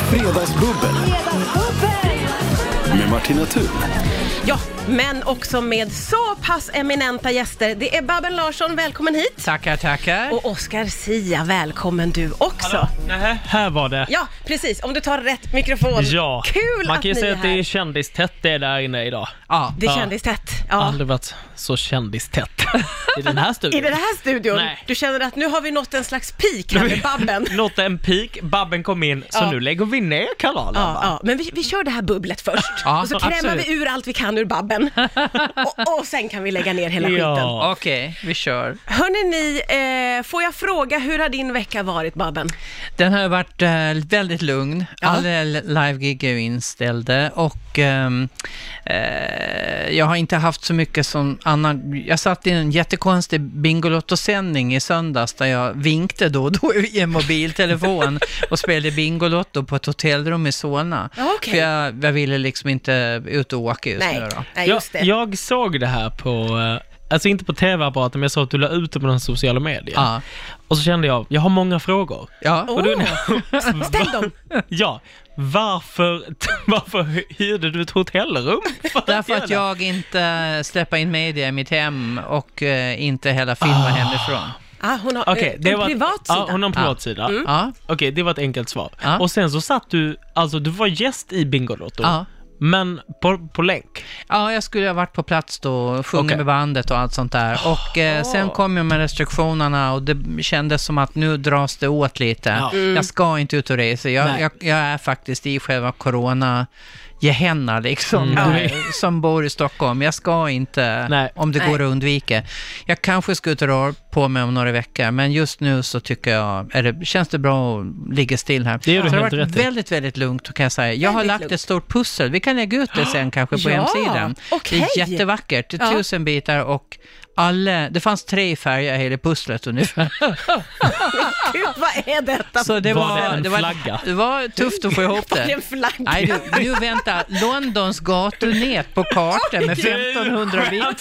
Fredagsbubbel med Martina Thun. Ja, men också med så pass eminenta gäster. Det är Babben Larsson, välkommen hit. Tackar, tackar. Och Oskar Sia, välkommen du också. Nähä, här var det. Ja, precis. Om du tar rätt mikrofon. Ja, Kul man att kan ju ni säga är att det här. är kändistätt det är där inne idag. Ja. Det Ja. kändes tätt. Ja. Aldrig varit så kändistätt i den här I studion. den här studion, Nej. du känner att nu har vi nått en slags peak här med Babben. Nådde en peak, Babben kom in, så Ja. nu lägger vi ner kanalen Ja, va? ja, men vi, vi kör det här bubblet först Ja, och så krämar vi ur allt vi kan ur Babben. och, och sen kan vi lägga ner hela skiten. Ja. Okej, vi kör. Hörrni ni, eh, får jag fråga, hur har din vecka varit Babben? Den har ju varit eh, väldigt lugn. Ja. Alla li- livegig är ju inställda och ehm, eh, jag har inte haft så mycket som annan. Jag satt i en jättekonstig Bingolotto-sändning i söndags där jag vinkte då och då i en mobiltelefon och spelade Bingolotto på ett hotellrum i Solna. Ja, okej. För jag, jag ville liksom inte ut och åka just Nej, nu då. nej Jag, just det. jag såg det här på, eh, alltså inte på tv-apparaten, men jag såg att du la ut det på de sociala medier. Ja. Och så kände jag, jag har många frågor. Ja. Åh, Ställ dem! Ja, varför, varför hyrde du ett hotellrum? för Därför att göra det? jag inte släpper in media i mitt hem och eh, inte heller filmar hemifrån. Ah, hon har Okej, eh, det en var... privat sida. Mm. Ja, hon har en privat sida. Ja, Okej, det var ett enkelt svar. Ja. Och sen så satt du, alltså du var gäst i Bingolotto, ja. men på, på länk. ja, jag skulle ha varit på plats då, och sjungit Okej. med bandet och allt sånt där. Och eh, sen kom ju med restriktionerna och det kändes som att nu dras det åt lite. Ja. Mm. Jag ska inte ut och resa. Jag, Nej. jag, jag är faktiskt i själva corona gehenna liksom, Mm. eh, som bor i Stockholm. Jag ska inte, Nej. om det går Nej. att undvika. Jag kanske ska ut och röra på mig om några veckor, men just nu så tycker jag, är det, känns det bra att ligga still här. Det gör du så det har helt varit rätt i. väldigt, väldigt lugnt kan jag säga. Jag har Väldigt lagt lugnt. ett stort pussel. Vi kan lägga ut det sen kanske på Ja, hemsidan. Det okej. är jättevackert. Det Ja. är tusen bitar och alla, det fanns tre färger i hela pusslet ungefär. Gud, vad är detta? Så det Var var, det en var, flagga? det var tufft att få ihop Det är det. en flagga. Nej du, nu vänta. Londons gatunät på kartan med 1500 bitar.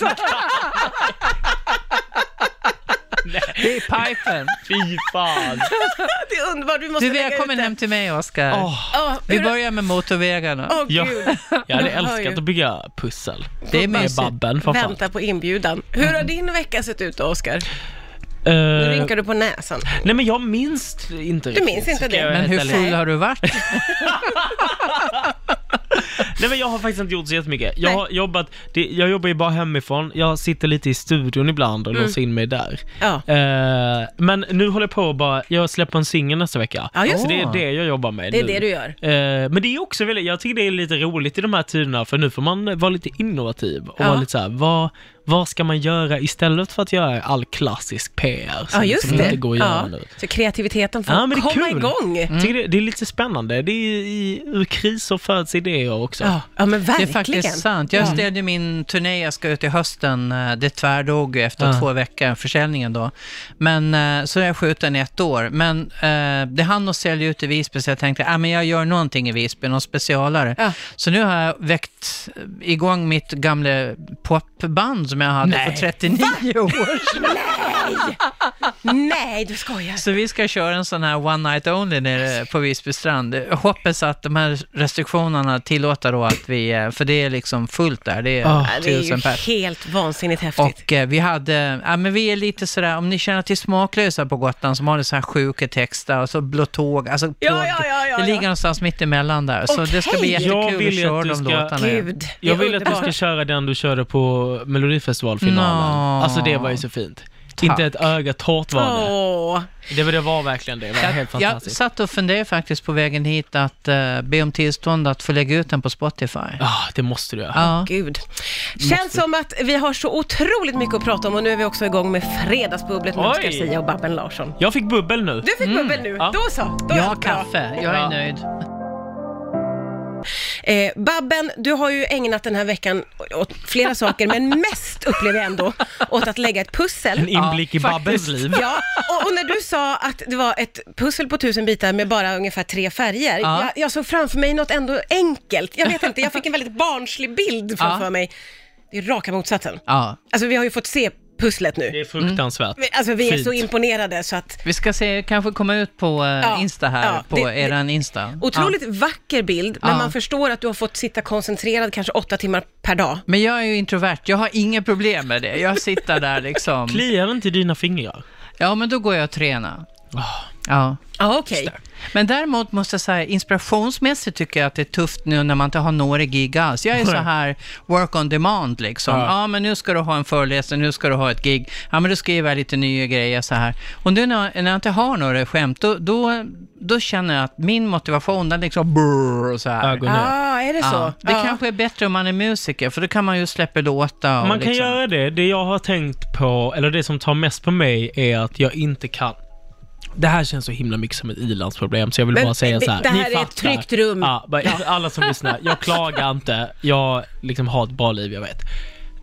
Det är pipen. Fy fan! Det är underbart, vi måste Du, välkommen hem till mig Oskar. Åh, Oh, Vi börjar med motorvägarna. Åh Ja. gud, jag hade Jag hör ju. älskat att bygga pussel. Det är Med mysigt. Babben, för fan. vänta på inbjudan. Hur har din vecka sett ut då Oskar? Nu Mm. Eh, rynkar du på näsan. nej men jag minns inte Du minns inte ska det. jag vara Men helt hur ärlig. full har du varit? Nej men jag har faktiskt inte gjort så jättemycket. Jag Nej. har jobbat, det, jag jobbar ju bara hemifrån, jag sitter lite i studion ibland och låser in mig där. Mm. Ja. Eh, men nu håller jag på och bara, jag släpper en singel nästa vecka. Ja, just så det det. är det jag jobbar med Det är nu. det du gör. Eh, men det är också väldigt, jag tycker det är lite roligt i de här tiderna för nu får man vara lite innovativ och Ja. vara lite så här, vad, vad ska man göra istället för att göra all klassisk PR som, Ja just som det. inte går att göra ja. nu? Så kreativiteten får Ja, men det komma är kul. Mm. igång. Jag Tycker det, det är lite spännande, det är i, ur kriser föds idéer också. Ja, ja men Det är verkligen. faktiskt sant. Jag ställde min turné, jag ska ut i hösten, eh, det tvärdog ju efter Ja. två veckor, försäljningen då. Men eh, så jag sköt den i ett år. Men eh, det hann att sälja ut i Visby så jag tänkte, ah, men jag gör någonting i Visby, någon specialare. Ja. Så nu har jag väckt igång mitt gamla popband som jag hade Nej. för 39 år. Nej, du skojar. Så vi ska köra en sån här one night only nere på Visby strand. Jag hoppas att de här restriktionerna tillåter då att vi, eh, för det är liksom fullt där, det är Ja. Ja, Det är ju tusen pers. helt vansinnigt häftigt. Och eh, vi hade, ja men vi är lite sådär, om ni känner till Smaklösa på Gotland som har det så här sjuka texter och så Blå tåg, alltså Ja, tåg, ja, ja, ja, det ja. ligger någonstans mitt emellan där. Så det ska bli Okej. Jag jättekul vill att ju köra att du de ska- låtarna. igen. Gud, det är Jag vill att du underbart. ska köra den du körde på Melodifestivalfinalen. Nå. Alltså det var ju så fint. Tack. Inte ett öga torrt var det. Åh, Det var, det var verkligen det. Det var helt Jag, jag fantastiskt. satt och funderade faktiskt på vägen hit att eh, be om tillstånd att få lägga ut den på Spotify. Ja, Ah, det måste du göra. Ja. gud. Känns som att vi har så otroligt mycket att prata om och nu är vi också igång med Fredagsbubblet med Oj. Oscar Zia och Babben Larsson. Jag fick bubbel nu. Du fick bubbel nu, Ja. då så. Då Jag är har allt bra. kaffe, jag är Ja. nöjd. Eh, Babben, du har ju ägnat den här veckan åt flera saker, men mest upplever jag ändå åt att lägga ett En pussel. inblick i Ja, Babbens liv. Ja, och, och när du sa att det var ett pussel på tusen bitar med bara ungefär tre färger, Ja. jag, jag såg framför mig något ändå enkelt. Jag vet inte, jag fick en väldigt barnslig bild framför Ja. mig. Det är raka motsatsen. Ja. Alltså vi har ju fått se pusslet nu. Det är fruktansvärt. Vi- Alltså vi är så Fint. imponerade så att Vi ska se, kanske komma ut på eh, Ja, Insta här, ja, på det- det- eran Insta. Otroligt Ja. vacker bild, men Ja. man förstår att du har fått sitta koncentrerad kanske åtta timmar per dag. Men jag är ju introvert, jag har inga problem med det. Jag sitter där liksom. Kliar inte dina fingrar? Ja, men då går jag och tränar. Ah. Ja. Ja, okej. Men däremot måste jag säga, inspirationsmässigt tycker jag att det är tufft nu när man inte har några gig alls. Jag är så här work on demand liksom. Ja. Ja, men nu ska du ha en föreläsning, nu ska du ha ett gig. Ja, men då skriver jag lite nya grejer så här. Och nu när jag, när jag inte har några skämt, då, då, då känner jag att min motivation, den liksom brrr, och så här. Ögon ner. Ah, är det så? Ja, Alltså, det Ja. kanske är bättre om man är musiker, för då kan man ju släppa låtar. och Man kan liksom. göra det. Det jag har tänkt på, eller det som tar mest på mig, är att jag inte kan. Det här känns så himla mycket som ett ilandsproblem, så jag vill Men bara säga det- så här. det ni här är ett fattar. tryggt rum. Ja, bara, Alla som lyssnar, jag klagar inte. Jag liksom har ett bra liv, jag vet.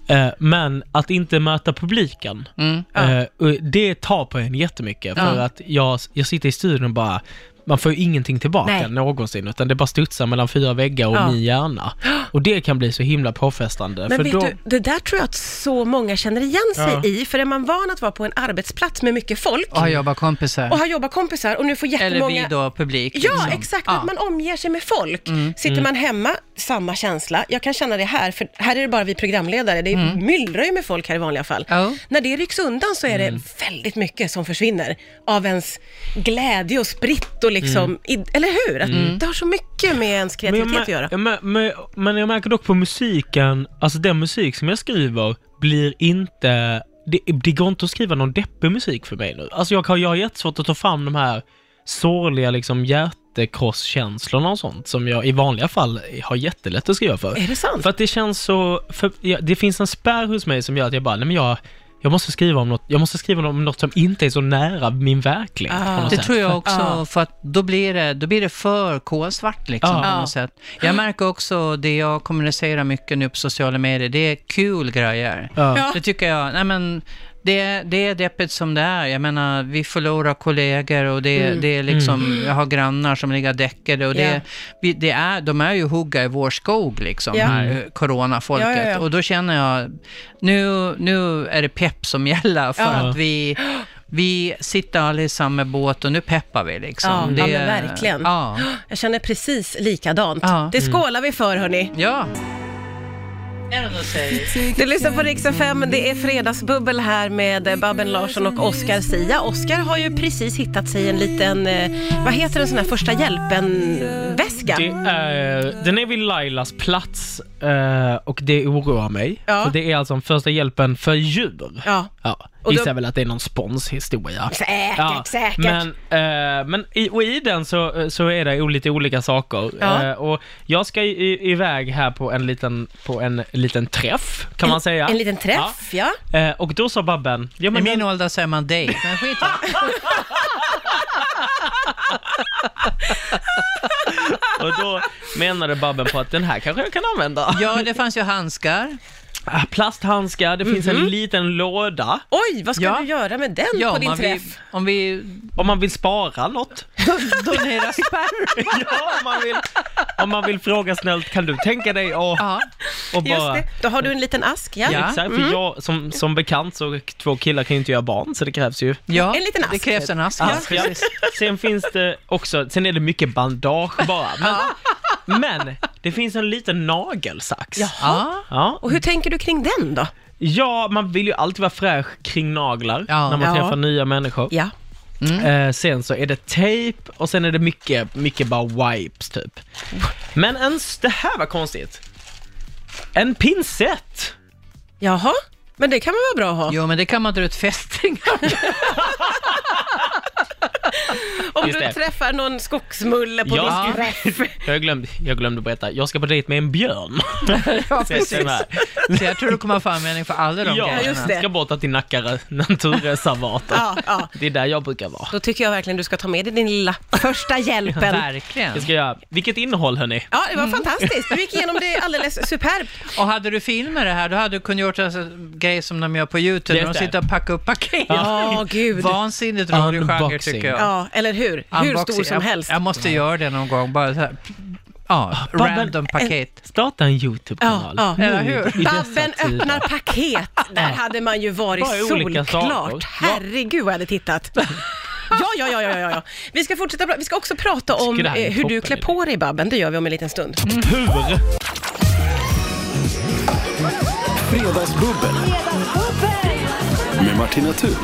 Eh, Men att inte möta publiken, Mm. eh, och det tar på en jättemycket. För Ja. att jag, jag sitter i studion och bara, man får ju ingenting tillbaka Nej. någonsin, utan det bara studsar mellan fyra väggar och Ja. min hjärna. Och det kan bli så himla påfrestande. Men för vet då, du, det där tror jag att så många känner igen sig Ja. i, för är man van att vara på en arbetsplats med mycket folk Och jag var kompisar. och har jobbarkompisar och nu får Eller jättemånga... vi då, publik. Ja, liksom. exakt. Ja. Mm, Att man omger sig med folk. Sitter man hemma, samma känsla. Jag kan känna det här, för här är det bara vi programledare. Det myllrar ju med folk här i vanliga fall. Mm. Ja. Mm. När det rycks undan så är det väldigt mycket som försvinner av ens glädje och spritt och liksom, Mm. i, eller hur? Att Det har så mycket med ens kreativitet jag att göra. mär- jag mär- men- men jag märker dock på musiken, alltså den musik som jag skriver blir inte... Det, det går inte att skriva någon deppig musik för mig nu. Alltså jag, har- jag har jättesvårt att ta fram de här sorgliga liksom hjärtekrosskänslorna och sånt som jag i vanliga fall har jättelätt att skriva för. Är det sant? För att det känns så... För, ja, det finns en spärr hos mig som gör att jag bara, nej men jag... Jag måste skriva om något, jag måste skriva om något som inte är så nära min verklighet Ah. på något Det sätt. tror jag också, Ja. för att då blir det, då blir det för kolsvart liksom, Ja. på Ja. något sätt. Jag märker också, det jag kommunicerar mycket nu på sociala medier, det är kul grejer. Ja. Ja. Det tycker jag, nej men, det, det är deppigt som det är. Jag menar, vi förlorar kollegor och det, det är liksom, jag har grannar som ligger däckade och det, Mm. Ja. vi, det är, de är ju hugga i vår skog liksom, Ja. här, eh, coronafolket. Ja, ja, ja. Och då känner jag, nu, nu är det pepp som gäller för Ja. att vi, vi sitter alla i samma båt och nu peppar vi liksom. Ja, Det- ja, men verkligen. Ja. Jag känner precis likadant. Ja. Mm. Det skålar vi för hörni. ja. Du lyssnar på Rix FM. Det är fredagsbubbel här med eh, Babben Larsson och Oscar Sia. Oscar har ju precis hittat sig en liten, eh, vad heter en sån här första hjälpen-väska? Det är, den är vid Lailas plats eh, och det oroar mig. Ja. För det är alltså en första hjälpen för djur. Ja, Ja, Och gissar då- väl att det är någon sponshistoria. säkert, Ja, säkert. Men, eh, men i, och i den så, eh, så är det lite olika saker. Ja. Eh, och jag ska i- i, iväg här på en liten, på en liten träff, kan man säga. En liten träff, ja. Ja. Eh, och då sa Babben, ja, I men min ålder säger man dig, men skit i det. och då menade Babben på att den här kanske jag kan använda. Ja, det fanns ju handskar. Ah, Plasthandskar, det finns Mhm. en liten låda. Oj, vad ska Ja. du göra med den Ja, på om din man vill- träff? om vi Om man vill spara något. donerar sperm. Ja, om man vill, om man vill fråga snällt, kan du tänka dig och, Ja. och Just bara... det, då har du en liten ask, ja. Ja. Exakt, för jag, som, som bekant så två killar kan ju inte göra barn, så det krävs ju. ja, En liten ask. typ. det krävs en ask. Ja, precis. Sen finns det också, sen är det mycket bandage bara. Men, men det finns en liten nagelsax. Ja. Ja. Och hur tänker du kring den då? ja, man vill ju alltid vara fräsch kring naglar Ja. när man Ja. träffar nya människor. Ja. Eh, sen så är det tejp och sen är det mycket, mycket bara wipes typ. Men ens, det här var konstigt. En pincett! Jaha, men det kan väl vara bra att ha? Jo, men det kan man dra ut fästingar. Om just du det. träffar någon skogsmulle på Ja. din träff. Jag glömde, jag glömde berätta, jag ska på dejt med en björn. Ja, Så jag precis. känner- Så jag tror du kommer få användning för alla de ja, grejerna. just det. jag ska borta till Nacka naturreservat. Ja, ja. Det är där jag brukar vara. Då tycker jag verkligen du ska ta med dig din lilla första hjälpen. Verkligen. Det ska jag, vilket innehåll hörni! Ja, det var fantastiskt. Du gick igenom det alldeles superbt. Och hade du filmer det här, då hade du kunnat gjort alltså, grejer som de gör på YouTube, Just när de det. sitter och packar upp paket. Ja, gud. Vansinnigt rolig genre Unboxing. tycker jag. Ja, eller hur? Hur Unboxing. stor som jag, helst. Jag måste göra det någon gång, bara så här. Ja, Babben- random Eh, paket. Starta en YouTube-kanal. Ja, ja. Nu, Eller hur? Mm. i dessa Babben tider. öppnar paket. Där hade man ju varit Bara i olika saker. solklart. Ja. Herregud vad jag hade tittat. Ja, ja, ja, ja, ja, ja. Vi ska fortsätta. pra- Vi ska också prata om det här är eh, hur du toppen, klär på dig Babben. Det gör vi om en liten stund. Tur! Fredagsbubbel. Med Martina Thun.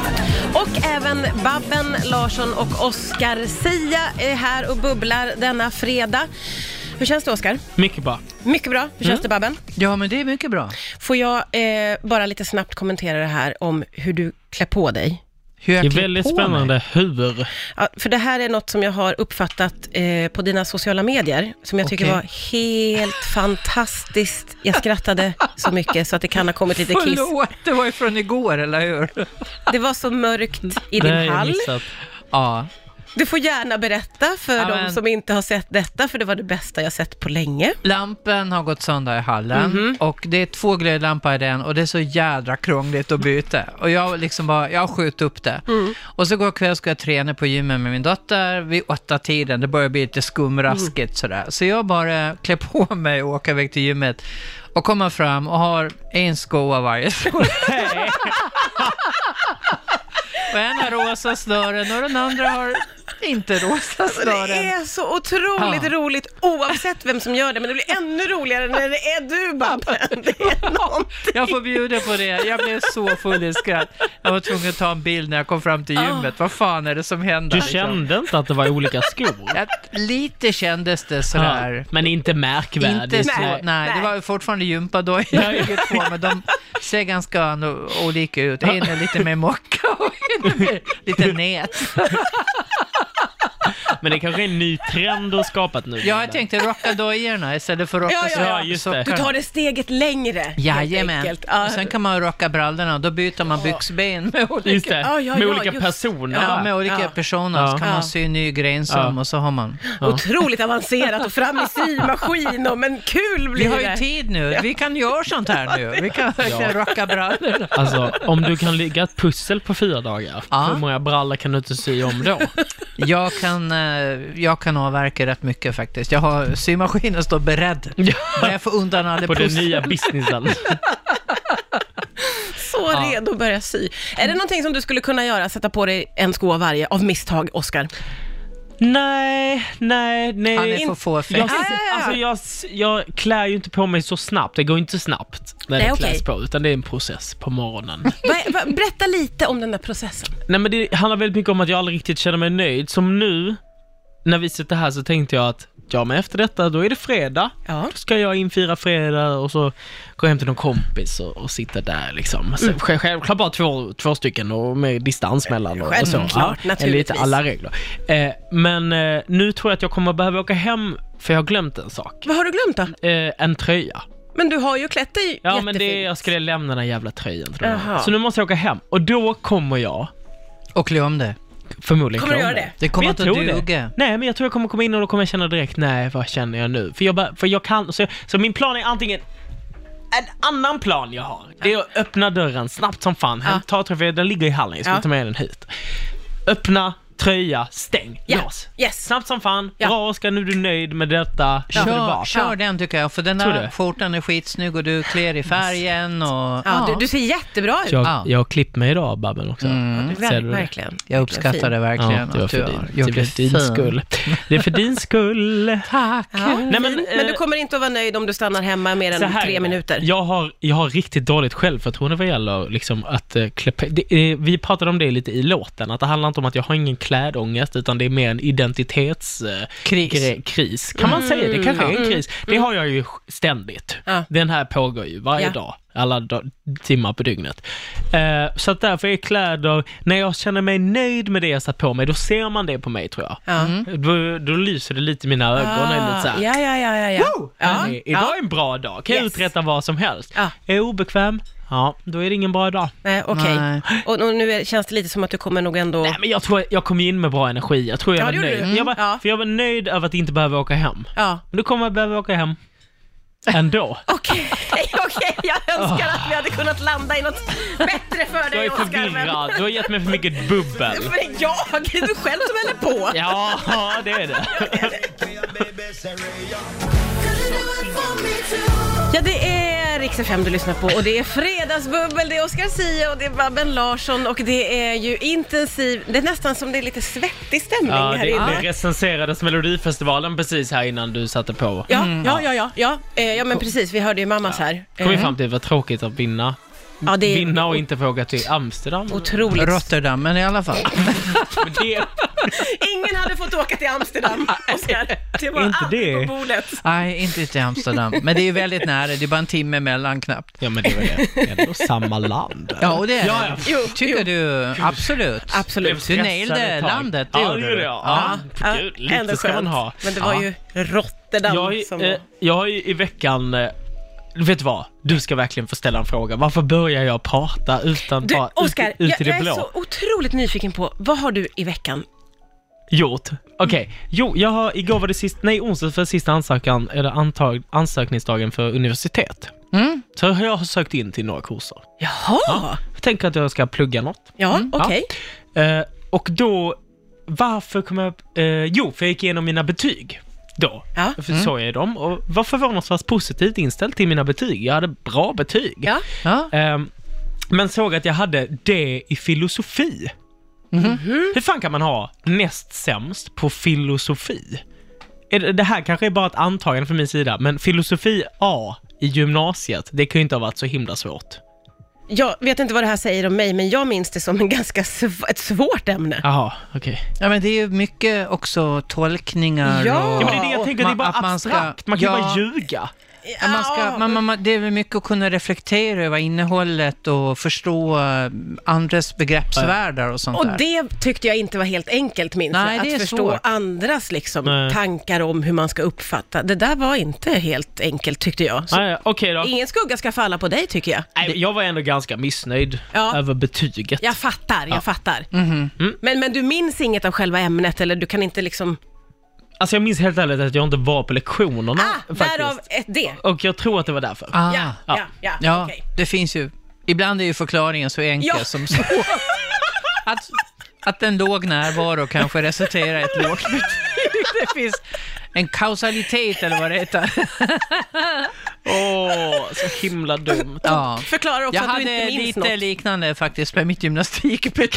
Och även Babben Larsson och Oscar Sia är här och bubblar denna fredag. Hur känns det Oscar? Mycket bra. Mycket bra. Hur Mm. känns det Babben? Ja, men det är mycket bra. Får jag eh, bara lite snabbt kommentera det här om hur du klär på dig? Hur jag Det är klär väldigt på mig. spännande hur. Ja, för det här är något som jag har uppfattat eh, på dina sociala medier, som jag tycker Okej. var helt fantastiskt. Jag skrattade så mycket så att det kan ha kommit lite kiss. Förlåt, det var ju från igår, eller hur? Det var så mörkt i Det din har jag hall. missat. Ja, Du får gärna berätta för Ja, de men- som inte har sett detta, för det var det bästa jag sett på länge. lampen har gått sönder i hallen Mhm. och det är två glödlampor i den och det är så jädra krångligt att byta. Och jag liksom bara, jag skjuter upp det. Mm. Och så går kväll ska jag träna på gymmet med min dotter vid åtta tiden. Det börjar bli lite skumraskigt Mm. sådär. Så jag bara klär på mig och åker iväg till gymmet och kommer fram och har en sko av varje sol. och en har rosa snören och den andra har inte rosa Alltså, Det snören. är så otroligt Ja. roligt oavsett vem som gör det, men det blir ännu roligare när det är du, Babben. Det är någonting. Jag får bjuda på det. Jag blev så full i skratt. Jag var tvungen att ta en bild när jag kom fram till Ah. gymmet. Vad fan är det som händer? Du liksom? kände inte att det var olika skor? Att lite kändes det Ja, sådär. men inte märkvärdigt. Inte så, nej, Ah. nej. det var ju fortfarande gympadojor jag gick på, men de ser ganska an- olika Ah. ut. En är lite mer mocka och en är mer- lite nät. Men det kanske är en ny trend du har skapat nu. Ja, jag tänkte rocka dojorna istället för rocka Ja, ja, ja. Ja, just det. sockarna. Du tar det steget längre. helt Jajamän. enkelt. Ja. Och sen kan man rocka brallorna och då byter man byxben med olika Just det, Ja, ja, med ja, olika just- personer. Ja, Ja, med olika ja. personer så Ja. kan Ja. man sy en ny grensöm Ja. och så har man... Otroligt avancerat och fram i symaskin och men kul Vi blir har det. ju tid nu, vi kan göra sånt här nu. Vi kan verkligen rocka brallorna. Alltså, om du kan lägga ett pussel på fyra dagar, Ja. hur många brallor kan du inte sy om då? Jag kan, eh, jag kan avverka rätt mycket faktiskt. Jag har symaskinen står beredd. Bara jag får undan alla På den pussel. nya businessen. Så redo att börja sy. Är det någonting som du skulle kunna göra, sätta på dig en sko av varje, av misstag, Oscar? Nej, nej, nej. Han är för fåfäng. Ah, jag, ja, ja. alltså, jag, jag klär ju inte på mig så snabbt, det går inte snabbt när Nej, det okej. kläs på, utan det är en process på morgonen. Va- va- Berätta lite om den där processen. Nej men det handlar väldigt mycket om att jag aldrig riktigt känner mig nöjd. Som nu, när vi sitter här så tänkte jag att ja men efter detta, då är det fredag. Ja. Då ska jag infira fredag och så gå hem till någon kompis och, och sitta där liksom. Så, Mm. sj- Självklart bara två, två stycken och med distans mellan och, och så. Självklart, naturligtvis. Enligt alla regler. Eh, men eh, nu tror jag att jag kommer behöva åka hem för jag har glömt en sak. Vad har du glömt då? Eh, en tröja. Men du har ju klätt dig Ja men jättefint. det, jag skulle lämna den här jävla tröjan tror Jaha. jag. Så nu måste jag åka hem och då kommer jag Och klä om det. förmodligen Kommer du krångla. göra det? Det kommer Men inte jag att tror duga. Det. Nej, men jag tror jag kommer komma in och då kommer jag känna direkt, nej vad känner jag nu? För jag, bara, för jag kan, så, så min plan är antingen en annan plan jag har, det är att öppna dörren snabbt som fan, Ja. ja. ta tröjan, den ligger i hallen, jag ska Ja. ta med den hit. Öppna, tröja, stäng, Ja. lås. Yes. Snabbt som fan, Ja. bra Oskar, nu är du nöjd med detta. Så får det Kör, vara. kör den tycker jag, för den Tror där du? skjortan är skitsnygg och du klär i färgen och... Ja, Ja. du, du ser jättebra ut. Jag, Ja. jag har klippt mig idag Babben också. Ver- Ser du det? verkligen. Jag uppskattar det Ja, verkligen. det var att för du din, har det gjort var för din fint. skull. Det är för din skull. Tack! Nej, Nej, men, men, men du eh, kommer inte att vara nöjd om du stannar hemma mer Så än här är tre det. minuter. Jag har, jag har riktigt dåligt självförtroende vad gäller liksom, att eh, klä på- det, eh, Vi pratade om det lite i låten, att det handlar inte om att jag har ingen klädångest, utan det är mer en identitetskris. Eh, Kris. gre- kris. Kan man säga det? Kanske är en kris. Det har jag ju ständigt. Mm. Ja. Den här pågår ju varje Ja. dag, alla da- timmar på dygnet. Eh, så att därför är kläder, när jag känner mig nöjd med det jag satt på mig, då ser man det på mig tror jag. Ja. Ah, Då, då lyser det lite i mina ögon. och är lite så här, ja, ja, ja, ja. ja. ja. Nej, Idag är en bra dag, kan jag Yes. uträtta vad som helst. Ja. Är jag obekväm? Ja, då är det ingen bra dag. Nej, okej. Nej. Och, och nu är, känns det lite som att du kommer nog ändå... Nej, men jag tror jag kom in med bra energi. Jag tror jag Ja, var det gjorde nöjd. du. Mm. Jag var, Ja. För jag var nöjd över att inte behöva åka hem. Ja. Men då kommer jag behöva åka hem. Ändå. Okej, okej. Okej, jag önskar att vi hade kunnat landa i något bättre för Jag dig är Oskar. men- förvirrad. Du har gett mig för mycket bubbel. Men jag? Det är du själv som häller på. Ja, det är det. Ja, det är Rix FM du lyssnar på och det är Fredagsbubbel, det är Oscar Sia och det är Babben Larsson och det är ju intensiv, det är nästan som det är lite svettig stämning Ja, här det, inne. det recenserades Melodifestivalen precis här innan du satte på. Ja, ja, ja, ja, ja, eh, ja, men precis, vi hörde ju mammas här. Mm. Kom vi Eh, fram till vad tråkigt att vinna. Ja, det är Vinna och inte få åka till Amsterdam. otroligt. Rotterdam, men i alla fall. Men det, Ingen hade fått åka till Amsterdam, Oscar. Det var Inte allt det. på bordet. Nej, inte till Amsterdam. Men det är ju väldigt nära, det är bara en timme emellan knappt. ja, men det var det. Ändå samma land. Ja, och det är Ja, ja. Jo, Tycker du? Absolut. absolut. Du nailade landet, det ja, gjorde gjorde du. jag. Ja. Ja. Ja, Gud, ändå lite ska skönt. man ha. Men det var Ja. ju Rotterdam Jag, har ju, som... eh, jag har ju i veckan eh, Vet du vad? Du ska verkligen få ställa en fråga. Varför börjar jag prata utan Du, bara Oskar, ut, ut jag, i det jag är blå? så otroligt nyfiken på, vad har du i veckan? Gjort. Okej. Jo, jag har, igår var det sist, nej onsdag för sista ansökan, eller antag, ansökningsdagen för universitet. Mm. Så jag har sökt in till några kurser. Jaha! Ja, Jag tänker att jag ska plugga något. okej. Eh, och då, varför kom jag... Eh, jo, för jag gick igenom mina betyg då. Ja. Mm. För Så är de. Och var förvånansvärt positivt inställd till mina betyg. Jag hade bra betyg. Ja. Ja. Ehm, men såg att jag hade det i filosofi. Mm-hmm. Mm-hmm. Hur fan kan man ha näst sämst på filosofi? Är det- Det här kanske är bara ett antagande från min sida, men filosofi A i gymnasiet, det kan ju inte ha varit så himla svårt. Jag vet inte vad det här säger om mig, men jag minns det som en ganska sv- ett svårt ämne. Jaha, okej. ja, men det är ju mycket också tolkningar Ja. och... Ja, men det är det jag och tänker, det är ma- bara att man ska- abstrakt. Man kan ju ja. bara ljuga. Ja, Man ska, man, man, man, det är väl mycket att kunna reflektera över innehållet och förstå eh, andras begreppsvärldar och sånt och där. det tyckte jag inte var helt enkelt, minns Nej, jag. det är Att förstå svårt. andras liksom, Nej. tankar om hur man ska uppfatta. Det där var inte helt enkelt, tyckte jag. Så Ah, ja, Okej då. Ingen skugga ska falla på dig, tycker jag. Nej, Jag var ändå ganska missnöjd Ja. över betyget. Jag fattar, jag fattar. Mhm. Men, men du minns inget av själva ämnet, eller du kan inte liksom... Alltså jag minns helt ärligt att jag inte var på lektionerna Ah, faktiskt. därav ett D. Och jag tror att det var därför. Ah, Ja, ja, ja, ja, okej. det finns ju. Ibland är ju förklaringen så enkel Ja. som så. Att, att en låg närvaro kanske resulterar i ett lågt betyg. Det finns en kausalitet eller vad det heter. Åh, så himla dumt. Ja. Förklarar också Jag att du inte hade minns lite något. liknande faktiskt med mitt gymnastikbetyg.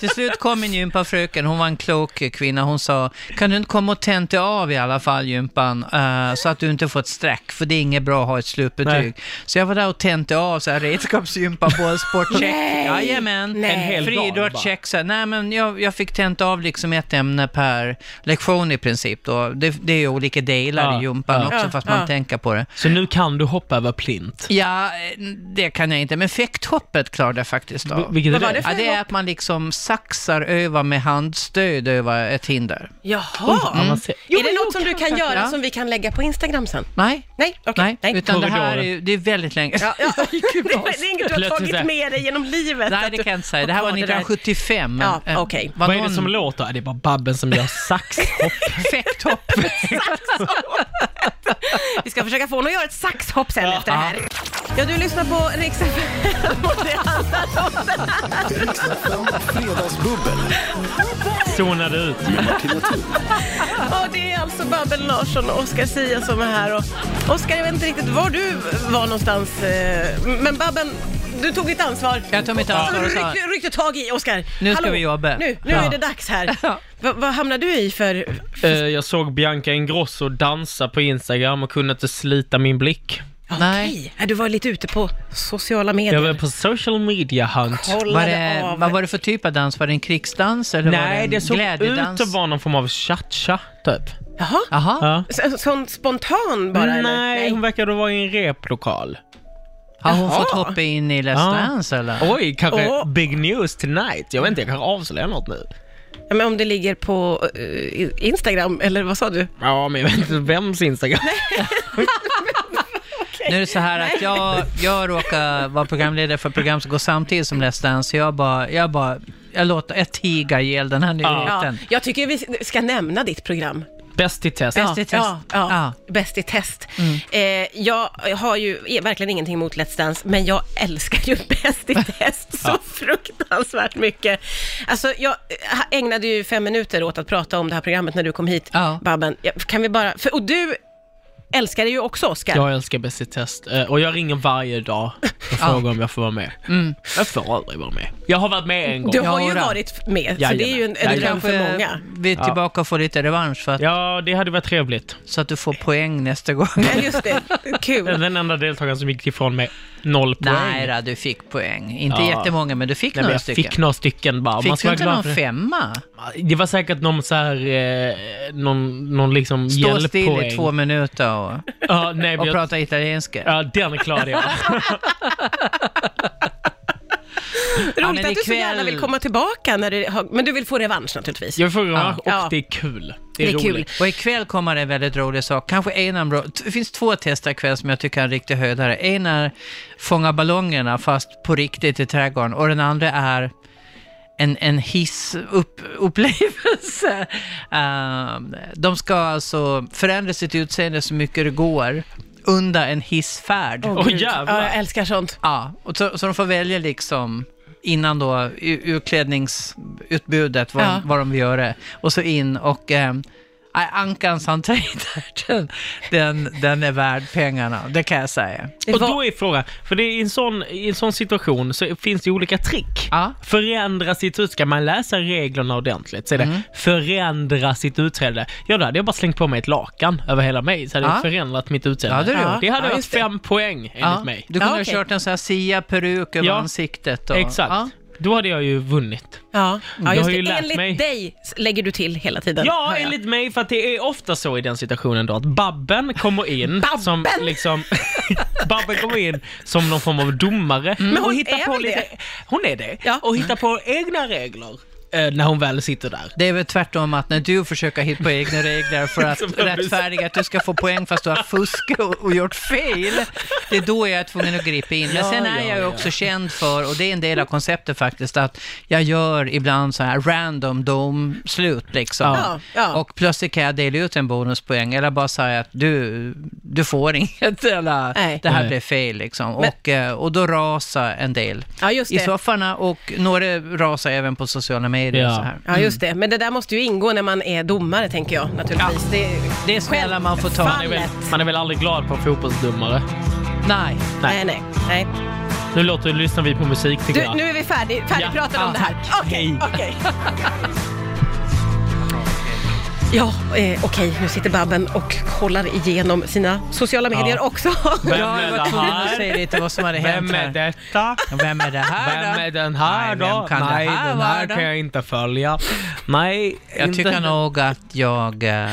Till slut kom min gympafröken, hon var en klok kvinna, hon sa kan du inte komma och tenta av i alla fall gympan eh, så att du inte får ett streck för det är inget bra att ha ett slutbetyg. Nej. Så jag var där och tänkte av så här redskapsgympa, bollsportcheck. Nej. Jajamän. Nej. En hel dag bara. Friidrottscheck. så här, Nej men jag, jag fick tenta av liksom ett ämne per lektion i princip då. Det, det är ju olika delar Ja. i gympan Ja. också Ja. fast man Ja. tänker på det. Så nu kan du hoppa över plint. Ja, eh, det kan jag inte, men fäkthoppet klarade jag faktiskt V- av. Vilket Vad är var det? det för- Ja, det är att man liksom saxar över med handstöd över ett hinder. Jaha! Mm. Jo, Är det något som du kan göra Ja. som vi kan lägga på Instagram sen? Nej, Nej, okej. nej, utan det här är, ju- det är väldigt länge Ja, ja. det, är- det är inget du har Plötsligt så tagit här. med dig genom livet. Nej, att det du kan jag inte säga. Det har här var kvar där. 1975. Ja, Eh, okej. var Vad är det någon som låter? Ah, Det är bara Babben som gör saxhopp. Fäkthopp. Vi ska försöka få honom att göra ett saxhopp sen efter det här. Ja, du lyssnar på Rix FM och det handlar om det här. Fredagsbubbel Zonade ut. med Martina Thun. Och det är alltså Babben Larsson och Oscar Sia som är här. Och Oscar, jag vet inte riktigt var du var någonstans, eh, men Babben, du tog ditt ansvar. Jag tog mitt Som ansvar du och sa, ryckte, ryckte tag i, Oscar. Nu ska vi jobba. Nu, nu Ja. är det dags här. Ja. Va, vad hamnar du i för... Eh, jag såg Bianca Ingrosso dansa på Instagram och kunde inte slita min blick. Nej. Okej, ja, du var lite ute på sociala medier. Jag var på social media hunt. var Kollade det, av. vad var det för typ av dans? Var det en krigsdans eller var det Nej, en det såg glädjedans? ut att vara någon form av cha-cha, typ. Jaha, Jaha, Ja. Så, sån spontan bara Nej, eller? hon verkade vara i en replokal. har hon Jaha. fått hoppa in i Let's Ja. Dance eller? Oj, kanske Åh. big news tonight. Jag vet inte, jag kanske avslöjar något nu. Ja, men om det ligger på eh, i- Instagram, eller vad sa du? Ja, men jag vet inte vems Instagram. Nu är det så här att jag, jag råkar vara programledare för ett program som går samtidigt som Let's Dance, så jag bara, jag bara, jag låter, jag tiga ihjäl den här Ja. nyheten. Jag tycker vi ska nämna ditt program. Bäst i test. Bäst i test. Ja, Ja, ja. Mm. Bäst i test. Eh, jag har ju är verkligen ingenting emot Let's Dance, men jag älskar ju Bäst i test så fruktansvärt mycket. Alltså, jag ägnade ju fem minuter åt att prata om det här programmet när du kom hit, Ja. Babben. Ja, Kan vi bara... För, och du älskar ju också Oscar. Jag älskar Bäst i test eh, och jag ringer varje dag och frågar om jag får vara med. Jag får aldrig vara med. Jag har varit med en gång. Mm. Du har ju Jodå. varit med, så det är ju en, en Jajamän. dröm för Kanske många. vi är tillbaka och får lite revansch för att, Ja, det hade varit trevligt. så att du får poäng nästa gång. Ja, just det. Kul. Den enda deltagaren som gick ifrån mig noll poäng. Nej då, du fick poäng. Inte Ja. jättemånga, men du fick Nej, men några jag stycken. fick några stycken bara. Fick du inte glad någon för det. femma? Det var säkert någon så här, eh, någon, någon liksom Stå still i hjälppoäng. två minuter och, Ja, nej, men och jag, prata italienska. ja, den klarade jag. men Roligt att du så ikväll- gärna vill komma tillbaka, när du har, men du vill få revansch naturligtvis. Jag får revansch Ja. och det är kul. Det Det är, är kul. roligt. Och ikväll kommer det en väldigt rolig sak. Kanske en av de ro- Det finns två tester ikväll som jag tycker är en riktig höjdare. En är Fånga ballongerna fast på riktigt i trädgården och den andra är en, en hissupplevelse. Ehm, de ska alltså förändra sitt utseende så mycket det går under en hissfärd. Åh, Gud. jävlar. Ja, jag älskar sånt. Ja, och så, så de får välja liksom innan då u- utklädningsutbudet, vad, Ja. vad de vill göra. Och så in och eh, Ankans entré där, den, den, den är värd pengarna, det kan jag säga. Det Och var- då är frågan, för det är i, en sån, i en sån situation så finns det olika trick. Ja. Förändra sitt utseende, ska man läsa reglerna ordentligt så är det förändra sitt utseende. Ja, då hade jag bara slängt på mig ett lakan över hela mig så hade jag Ja. förändrat mitt utseende. Ja, det hade du gjort. det hade Ja, varit just det. fem poäng enligt Ja, mig. Du kunde Ja, ha okej. kört en sån här sia-peruk över Ja, ansiktet. Och, Exakt. Ja. Då hade jag ju vunnit. Ja, ja Jag just har det. ju lärt Enligt mig. dig lägger du till hela tiden. Ja, hör jag. enligt mig, för att det är ofta så i den situationen då att Babben kommer in Babben? som liksom... babben kommer in som någon form av domare. Men hon hittar Mm. är på väl lite, det? Hon är det. Ja. Och hittar på egna regler eh, när hon väl sitter där. Det är väl tvärtom att när du försöker hitta på egna regler för att Som jag precis- rättfärdiga att du ska få poäng fast du har fuskat och, och gjort fel, det är då jag är tvungen att gripa in. Men Ja, sen är ja, jag ju ja. också känd för, och det är en del av konceptet faktiskt, att jag gör ibland så här random domslut liksom. Ja, ja. Och plötsligt kan jag dela ut en bonuspoäng eller bara säga att du, du får inget eller Nej. det här Nej. blev fel liksom. Men- Och, eh, och då rasar en del Ja, just i det. sofforna och några rasar även på sociala medier och Ja. så här. Ja, just Mm. det. Men det där måste ju ingå när man är domare, tänker jag naturligtvis. Det är... Det är smällar man får ta. Fan. Man är, väl, Lätt. man är väl aldrig glad på en fotbollsdomare. Nej. Nej, nej, nej. Nu låter, lyssnar vi på musik tycker Du, jag. nu är vi färdig, färdigpratade Ja, Ah, om det här. Okej, Hej. okej. Ja, eh, okej, nu sitter Babben och kollar igenom sina sociala medier Ja. eh, också. Vem Ja, jag är var det tvungen att här? säga lite vad som hade hänt Vem är här. detta? Vem är det här Vem då? är den här Nej, då? vem kan det Nej, här den vara? här kan jag inte följa. Nej, Jag inte. tycker nog att jag eh,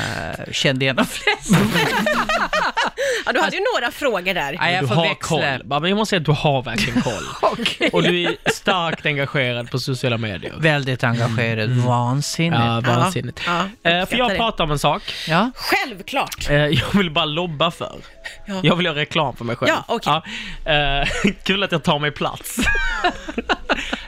kände igen de flesta. Ja, du hade ju några frågor där. Nej, jag du får har växla. koll. Babben, Jag måste säga att du har verkligen koll. Och du är starkt engagerad på sociala medier. Väldigt engagerad. Vansinnigt. Mm. Ja, Ja. vansinnigt. Mm. Ja, ja, Eh, för jag det. pratar om en sak. Självklart! Eh, jag vill bara lobba för. Ja. Jag vill göra reklam för mig själv. Ja, okej. Ja. Eh, kul att jag tar mig plats.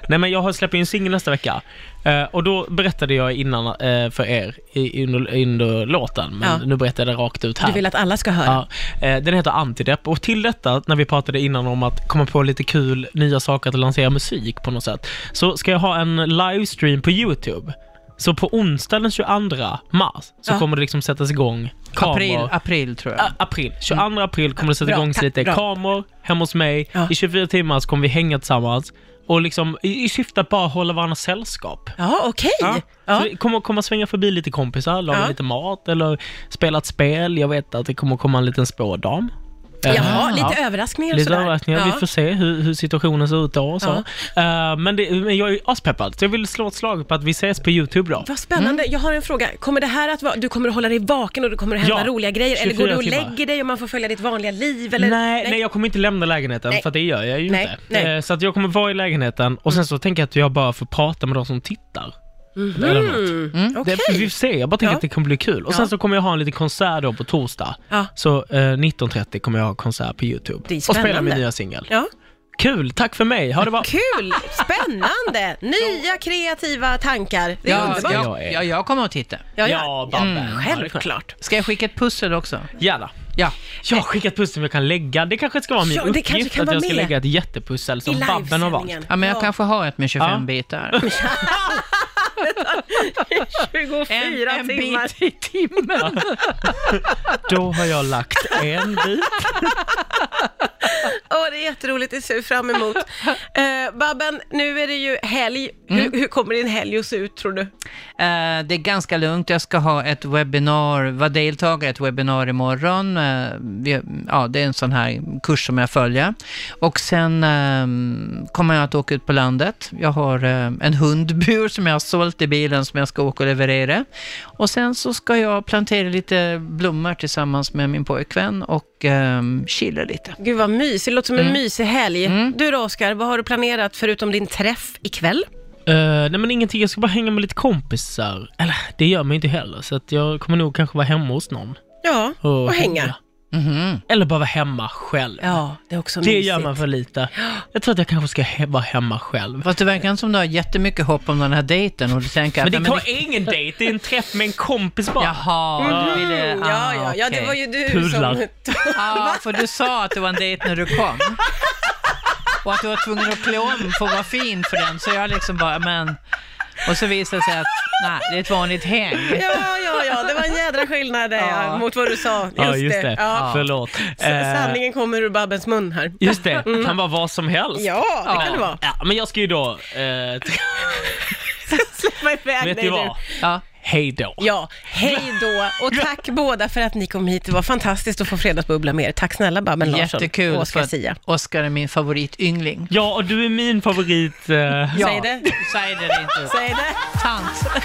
Nej men jag har släppt en singel nästa vecka. Eh, och då berättade jag innan eh, för er i, under, under låten, men Ja. nu berättar jag det rakt ut här. Du vill att alla ska höra. Ja, eh, den heter Antidepp och till detta, när vi pratade innan om att komma på lite kul nya saker att lansera musik på något sätt, så ska jag ha en livestream på YouTube. Så på onsdag den 22 mars så Ja. kommer det liksom sättas igång kameror. April, april tror jag. A- april. 22 april kommer det sätta Mm. Bra, igång tack, lite bra. kameror hemma hos mig. Ja. I 24 timmar så kommer vi hänga tillsammans och liksom i, i syfte att bara hålla varandra sällskap. Ja, okej. Ja. Så det kommer komma svänga förbi lite kompisar, laga Ja. lite mat eller spela ett spel. Jag vet att det kommer komma en liten spådam. Jaha, Eh, lite ja. överraskningar och Lite sådär. överraskningar. Vi får se hur, hur situationen ser ut då och så. Eh, men, det, men jag är aspeppad, så jag vill slå ett slag på att vi ses på YouTube då. Vad spännande. Mm. Jag har en fråga. Kommer det här att vara, du kommer att hålla dig vaken och det kommer att hända Ja, roliga grejer? Eller går du 24 och timmar. lägger dig och man får följa ditt vanliga liv? Eller? Nej, nej, jag kommer inte lämna lägenheten Nej. för att det gör jag ju Nej, inte. nej. Eh, Så att jag kommer vara i lägenheten och sen så tänker jag att jag bara får prata med de som tittar. Eller något. Mm, Okej. Det, vi får se, jag bara tänker Ja. att det kommer bli kul. Och Ja. sen så kommer jag ha en liten konsert då på torsdag. Ja. Så eh, 19.30 kommer jag ha konsert på YouTube. Det är och spela min spännande. nya singel. Ja. Kul, tack för mig. Ha det bra. Kul, spännande, nya kreativa tankar. Det är Ja, underbart. ja, ja, jag kommer att titta. Ja, Mm. Ja, Babben. Ja, det är självklart. Ska jag skicka ett pussel också? Gärna. Ja. Jag har skickat pussel som jag kan lägga. Det kanske ska vara min Ja, det uppgift kanske kan att vara jag ska med. lägga ett jättepussel I som Babben har valt. livesändningen. Ja, men jag kanske har ett med 25 Ja. bitar. 24 en, en timmar. bit i timmen. Då har jag lagt en bit. Åh, det är jätteroligt, det ser vi fram emot. Eh, Babben, nu är det ju helg. Mm. Hur, hur kommer din helg att se ut tror du? Eh, det är ganska lugnt. Jag ska ha ett webbinar, vara deltagare i ett webbinar imorgon. Eh, vi, ja, det är en sån här kurs som jag följer. Och sen eh, kommer jag att åka ut på landet. Jag har eh, en hundbur som jag har sålt i bilen som jag ska åka och leverera. Och sen så ska jag plantera lite blommor tillsammans med min pojkvän och eh, chilla lite. Gud vad mysigt, det låter som en Mm. mysig helg. Du då Oskar, vad har du planerat förutom din träff ikväll? Eh, nej men ingenting, jag ska bara hänga med lite kompisar. Eller det gör man inte heller, så att jag kommer nog kanske vara hemma hos någon. Ja, och, hänga. Mhm. Eller bara vara hemma själv. Ja, det är också det mysigt. gör man för lite. Jag tror att jag kanske ska he- vara hemma själv. Fast det verkar som du har jättemycket hopp om den här dejten och du tänker att... Men "Nej, det var ingen dejt, det är en träff med en kompis bara. Jaha, du ville... Mm, ja, ja, ja, det Ah, okej. var ju du Pudlar. som... Ja, för du sa att det var en dejt när du kom. Och att du var tvungen att klä om för att vara fin för den. Så jag liksom bara, men... Och så visade det sig att, nej, det är ett vanligt häng. Ja, ja, ja, det var en jädra skillnad där, ja. Ja. mot vad du sa. Just, ja, just det. Ja. Förlåt. S- Eh, Sanningen kommer ur Babbens mun här. Just det, kan vara vad som helst. Ja, det kan det vara. Mm. Ja, men jag ska ju då... Eh, Släpp mig iväg vet dig nu. ni vad? Ja. Hej då. Ja, hej då och tack båda för att ni kom hit. Det var fantastiskt att få fredagsbubbla med er. Tack snälla Babben Larsson Jättekul. och Oskar för att Sia. Oscar är min favorityngling. Ja, och du är min favorit. Eh, Säg det. Säg det inte. Säg det. Tant.